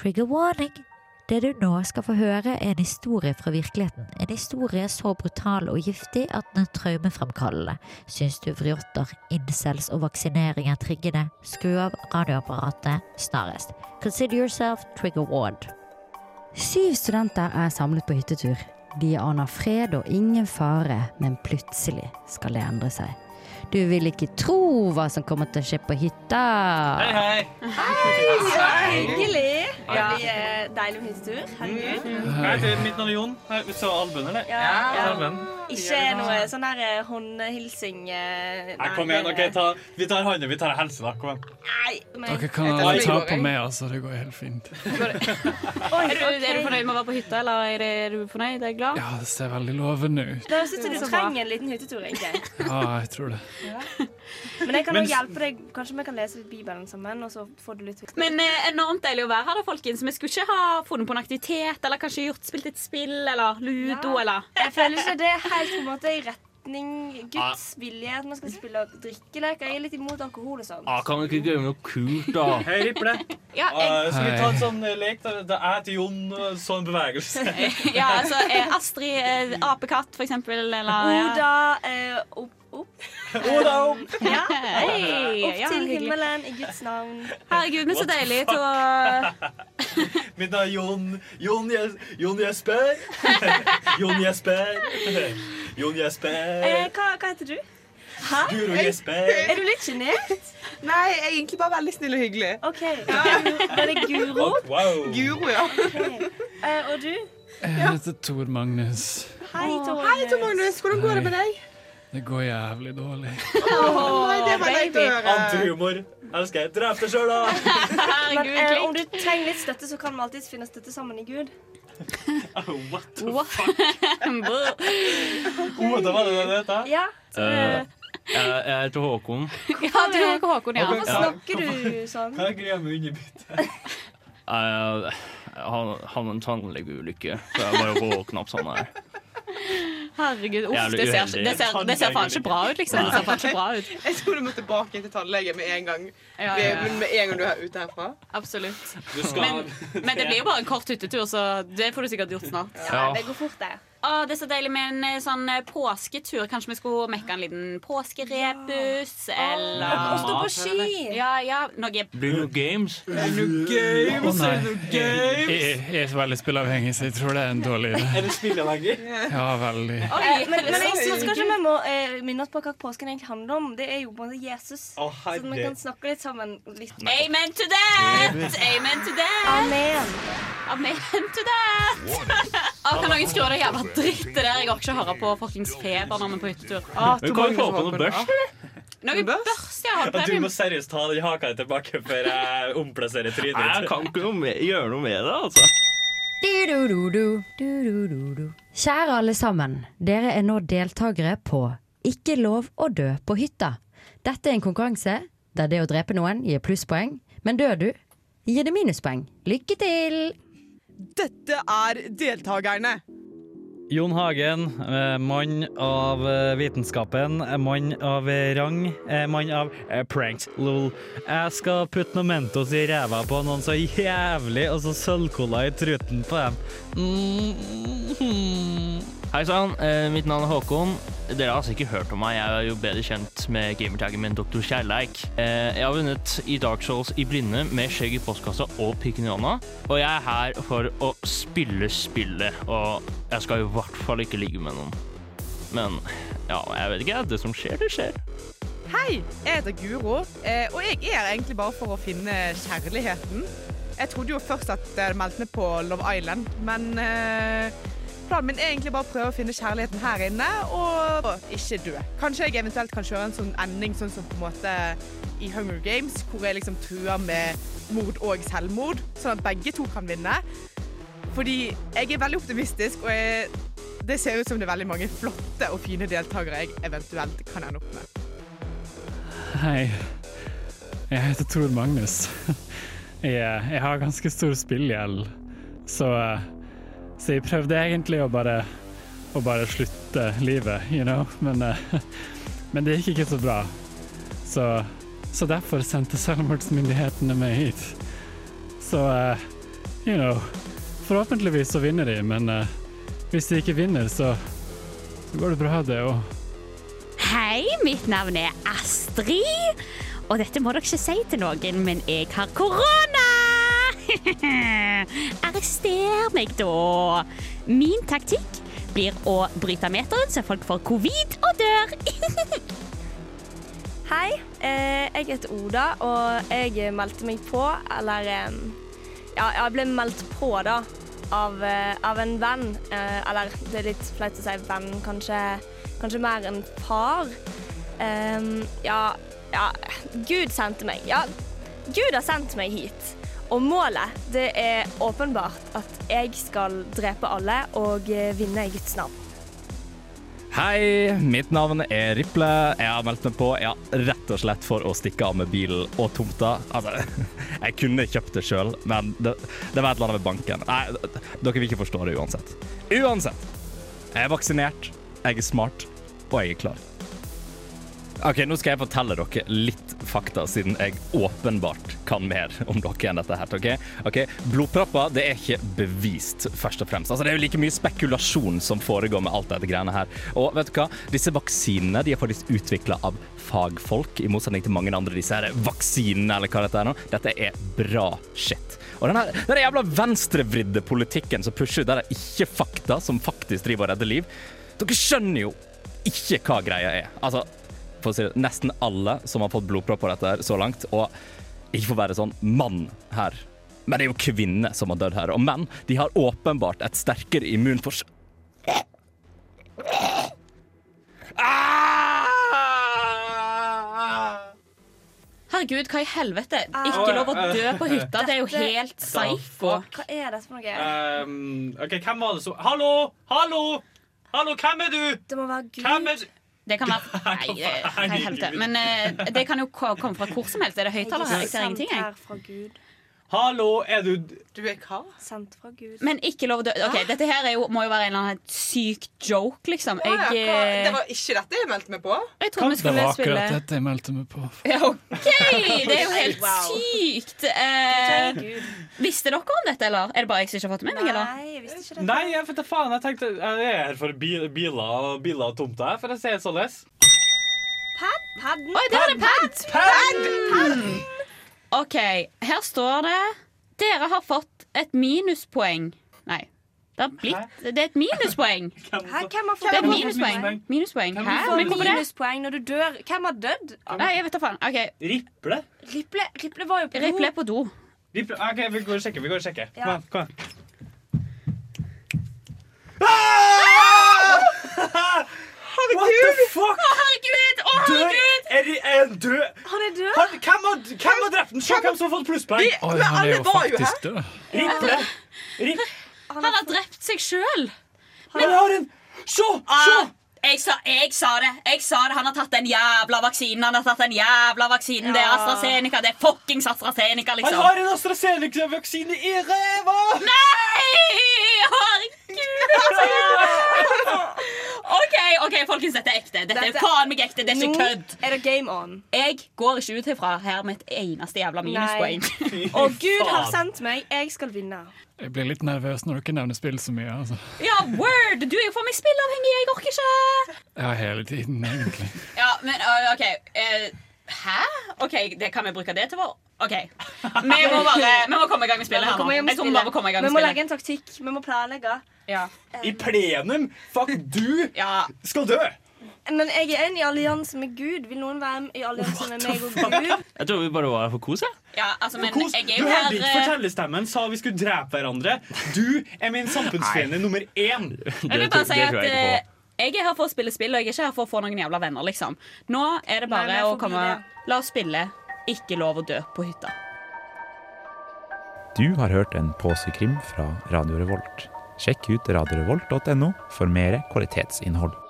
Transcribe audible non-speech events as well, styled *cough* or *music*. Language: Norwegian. Trigger warning! Det du nå skal få høre, er en historie fra virkeligheten. En historie så brutal og giftig at den er traumefremkallende. Syns du vriotter, incels og vaksinering er triggende, skru av radioapparatet snarest. Consider yourself trigger warned. Syv studenter er samlet på hyttetur. De aner fred og ingen fare, men plutselig skal det endre seg. Du vil ikke tro hva som kommer til å skje på hytta. hei. Så hyggelig! Ja. Det blir deilig med hyttetur. Herregud. Hei, det er mitt navn er Jon. Hei, vi ser albuen, eller? Ja, ja. Albuen. Mm. Ikke noe sånn der eh, håndhilsing eh, Nei, kom igjen, ok, ta, vi tar hånda, vi tar helse, da. Kom igjen. Nei, men Dere kan Jeg tar alle det ta går, på jeg. meg, altså. Det går helt fint. Oi, Er du, er du ok. fornøyd med å være på hytta, eller er, det, er du fornøyd? Er du glad? Ja, det ser veldig lovende ut. Det høres ut som du Så bra. trenger en liten hyttetur. egentlig. Ja, jeg tror det. Men jeg kan Men- også hjelpe deg. Kanskje vi kan lese litt Bibelen sammen? og så får du litt... Men eh, enormt deilig å være her, da, folkens. Vi skulle ikke ha funnet på en aktivitet, eller kanskje gjort spilt et spill, eller ludo, Ja. eller Jeg føler ikke det er helt på en måte i retning Guds Ah. vilje at man skal spille drikkeleker. Jeg er litt imot alkohol og sånn. Ah, kan dere ikke gjøre noe kult, da? Hei, Riple. Ja, jeg, Uh, skal vi ta en sånn eh, lek? da? Det er til Jon, eh, sånn bevegelse. ja altså eh, Astrid eh, apekatt, for eksempel, Oh, eller Ah, ja. Oda eh, opp, opp, Oda opp. ja. Hei, *laughs* opp ja, til hyggelig. himmelen i Guds navn. Herregud, men så What the deilig til å Mitt navn er Jon. Jon, Jes Jon Jesper. *laughs* Jon Jesper. *laughs* Jon Eh, Jesper. hva, hva heter du? Hæ? Guro Jesper. Er du litt sjenert? Nei, jeg er egentlig bare veldig snill og hyggelig. OK. Det er Guro. Wow. Guro, ja. Eh, og du? Jeg heter Tor Magnus. Hei, Tor. Hei, Tom Magnus. Hvordan går det med deg? Det går jævlig dårlig. Nei, det var deilig å høre. Antihumor. Elsker. Drep deg sjøl, da. Men Herregud, eh, om klikk. du trenger litt støtte, så kan vi alltid finne støtte sammen i Gud. Oh, What? Bro. Oda, var det det det het? Ja. Eh, jeg, jeg heter Håkon. Ja, du og Håkon, ja. Hvorfor snakker du sånn? Hva er greia med underbitt? Jeg han har en tannlegeulykke, så jeg bare våkna opp sånn *laughs* her. Herregud, uff, Jævlig det ser, uheldig. det ser, det ser faen ikke bra ut, liksom. Det ser faen ikke bra *laughs* ut. Jeg tror du må tilbake til tannlege med en gang. Ja, ja, Med, ja. med en gang du er ute herfra. Absolutt. Du skal Men det blir jo bare en kort hyttetur, så det får du sikkert gjort snart. Ja, det går fort, det. Å, det er så deilig med en eh, sånn eh, påsketur. Kanskje vi skulle mekke en liten påskerebus, Å eller stå på ski! Ja, ja, noe Blir det noe games? Å nei. Jeg, jeg, jeg er så veldig spillavhengig, så jeg tror det er en dårlig idé. Er du spilleavhengig? Ja, veldig. Oi, Eh, Men, men jeg synes kanskje vi må eh, minne oss på hva påsken egentlig handler om. Det er jo på en måte Jesus. Å, Så vi herre. kan snakke litt sammen. Litt. *laughs* Amen to that! Amen to that! Amen. Amen to that! Å, kan noen skru av det jævla drittet der? Jeg orker ikke å høre på fuckings feber når vi er på hyttetur. Å, Vi kan jo få på noe børs. Noe børst jeg har Ja, prøvd. du må seriøst ta den haka di tilbake før jeg omplasserer trynet Jeg ditt. kan ikke noe med, gjøre noe med det, altså. Du-du-du-du, du-du-du-du. Kjære alle sammen. Dere er nå deltakere på Ikke lov å dø på hytta. Dette er en konkurranse der det å drepe noen gir plusspoeng, men dør du, gir det minuspoeng. Lykke til! Dette er deltakerne. Jon Hagen, eh, mann av eh, vitenskapen, eh, mann av eh, rang, eh, mann av eh, pranks, lol. Jeg skal putte noe Mentos i ræva på noen så jævlig, og så sølvkola i truten på dem. Mm. Hei sann, eh, mitt navn er Håkon. Dere har altså ikke hørt om meg. Jeg er jo bedre kjent med gamertaggen min Dr. Kjærleik. Eh, jeg har vunnet i Dark Souls i blinde med skjegg i postkassa og pikken i hånda. Og jeg er her for å spille spillet, og jeg skal i hvert fall ikke ligge med noen. Men ja, jeg vet ikke. Det som skjer, det skjer. Hei, jeg heter Guro, eh, og jeg er her egentlig bare for å finne kjærligheten. Jeg trodde jo først at jeg hadde meldt meg på Love Island, men eh, planen min er egentlig bare å prøve å finne kjærligheten her inne og og ikke dø. Kanskje jeg eventuelt kan kjøre en sånn ending sånn som på en måte i Hunger Games, hvor jeg liksom truer med mord og selvmord, sånn at begge to kan vinne. Fordi jeg er veldig optimistisk, og jeg, det ser ut som det er veldig mange flotte og fine deltakere jeg eventuelt kan ende opp med. Hei. Jeg heter Tor Magnus. Jeg, jeg har ganske stor spillgjeld, så, eh, så jeg prøvde egentlig å bare, å bare slutte livet, you know, men, eh, men det gikk ikke så bra. Så, så derfor sendte selvmordsmyndighetene meg hit. Så eh, you know Forhåpentligvis så vinner de, men eh, hvis de ikke vinner, så så går det bra, det òg. Hei, mitt navn er Astrid. Og dette må dere ikke si til noen, men jeg har korona! *laughs* Arrester meg, da. Min taktikk blir å bryte meteren så folk får covid og dør. *laughs* Hei, eh, jeg heter Oda, og jeg meldte meg på, eller eh, Ja, jeg ble meldt på, da, av, eh, av en venn. Eh, eller det er litt flaut å si venn, kanskje, kanskje mer enn far. Eh, ja, ja Gud sendte meg. Ja, Gud har sendt meg hit. Og målet, det er åpenbart at jeg skal drepe alle og eh, vinne i Guds navn. Hei, mitt navn er Riple. Jeg har meldt meg på ja, rett og slett for å stikke av med bilen og tomta. Altså, *laughs* jeg kunne kjøpt det sjøl, men det, det var et eller annet med banken. Nei, dere vil ikke forstå det uansett. Uansett! Jeg er vaksinert, jeg er smart, og jeg er klar. OK, nå skal jeg fortelle dere litt fakta, siden jeg åpenbart kan mer om dere enn dette her. OK? Ok, Blodpropper det er ikke bevist, først og fremst. Altså, Det er jo like mye spekulasjon som foregår med alt dette greiene her. Og vet du hva? Disse vaksinene de er faktisk utvikla av fagfolk, i motsetning til mange andre disse her vaksinene, eller hva dette er nå. Dette er bra shit. Og den her, den her jævla venstrevridde politikken som pusher ut der det ikke fakta som faktisk driver og redder liv. Dere skjønner jo ikke hva greia er. Altså, for å si det, nesten alle som har fått blodpropp på dette her så langt, og ikke for å være sånn mann her. Men det er jo kvinner som har dødd her, og menn de har åpenbart et sterkere immunforsvar Herregud, hva i helvete? Ikke lov å dø på hytta. Det er jo helt psycho. Hva er dette for noe? Ehm, ok, hvem var det som Hallo! Hallo! Hallo, hvem er du? Det må være Hvem Gud. er du? Det kan være Nei, det er hva i helvete. Men eh, det kan jo ko- komme fra hvor som helst. Er det høyttaler her? Jeg ser sendt ingenting, jeg. her fra Gud. Hallo, er du Du er hva? Sendt fra Gud. Men ikke lov å dø. Ok, Dette her er jo, må jo være en eller annen syk joke, liksom. Å, ja, Jeg, hva? eh, Det var ikke dette jeg meldte meg på. jeg trodde vi skulle spille dette jeg meldte meg på. Ja, OK! Det er jo helt Wow. sykt. Nei, Eh, Gud. visste dere om dette, eller? Er det bare jeg som ikke har fått det med meg? eller? Nei, jeg visste ikke det. Nei, jeg vet da faen. Jeg tenkte Jeg er her for bi- biler og biler og tomter, for å si det sånn. således. Pad, padden. Oi, der er det pad! OK, her står det Dere har fått et minuspoeng. Nei. Det, har blitt, det er et minuspoeng. Hæ, hvem har fått Det er et minuspoeng? minuspoeng. minuspoeng. Hæ? Du Men får hvorfor det? minuspoeng når du dør. Hvem har dødd? Nei, jeg vet da faen. OK, Riple? Riple, Riple var jo på Riple er på do. Riple. OK, vi går og sjekker. Vi går og sjekker. Kom Ja. igjen. kom igjen. Ah! *laughs* What the fuck? Herregud! Å, Død? herregud! Er, de- er han død? Han er død. Han, hvem, har, hvem har drept den? Se hvem som har fått plusspoeng. Oi, han Men er alle jo var jo her. faktisk død. Riple. Riple. Han har drept seg sjøl. Han har en Se! Ah, Se! Jeg sa, jeg sa det! jeg sa det Han har tatt den jævla vaksinen. Han har tatt den jævla vaksinen Det er AstraZeneca. Det er fuckings AstraZeneca, Han liksom. har en AstraZeneca-vaksine i ræva! Nei! Herregud, altså! OK, ok, folkens, dette er ekte. Dette er Dette- faen meg ekte. Det er Nå ikke kødd. er det game on. Jeg går ikke ut herfra her med et eneste jævla minuspoeng. Og Gud har sendt meg. Jeg skal vinne. Jeg blir litt nervøs når dere nevner spill så mye. altså. Ja, word! Du er jo for meg spillavhengig. Jeg orker ikke. Ja, hele tiden, *laughs* egentlig. Ja, men ø, OK. eh, hæ? OK, det kan vi bruke det til vår OK. Vi må bare vi må komme i gang med spillet her nå. Kom igjen med Jeg tror vi bare må komme i gang spillet. Vi med må legge spillet. en taktikk. Vi må planlegge. Ja. I plenum! Fuck, du ja. skal dø! Men jeg er en i allianse med Gud. Vil noen være i allianse med meg og Gud? Jeg tror vi bare var her for kos, jeg. ja altså, men Kos, jeg er du jo hørte ikke her eh, ø, fortellerstemmen sa vi skulle drepe hverandre. Du er min samfunnsfiende nummer én. Jeg vil tror- bare si det at tror jeg ø, ikke på. jeg er her for å spille spill, og jeg er ikke her for å få noen jævla venner, liksom. Nå er det bare Nei, men å forbi komme det. La oss spille Ikke lov å dø på hytta. Du har hørt en påskekrim fra Radio Revolt. Sjekk ut radiorevolt.no for mer kvalitetsinnhold.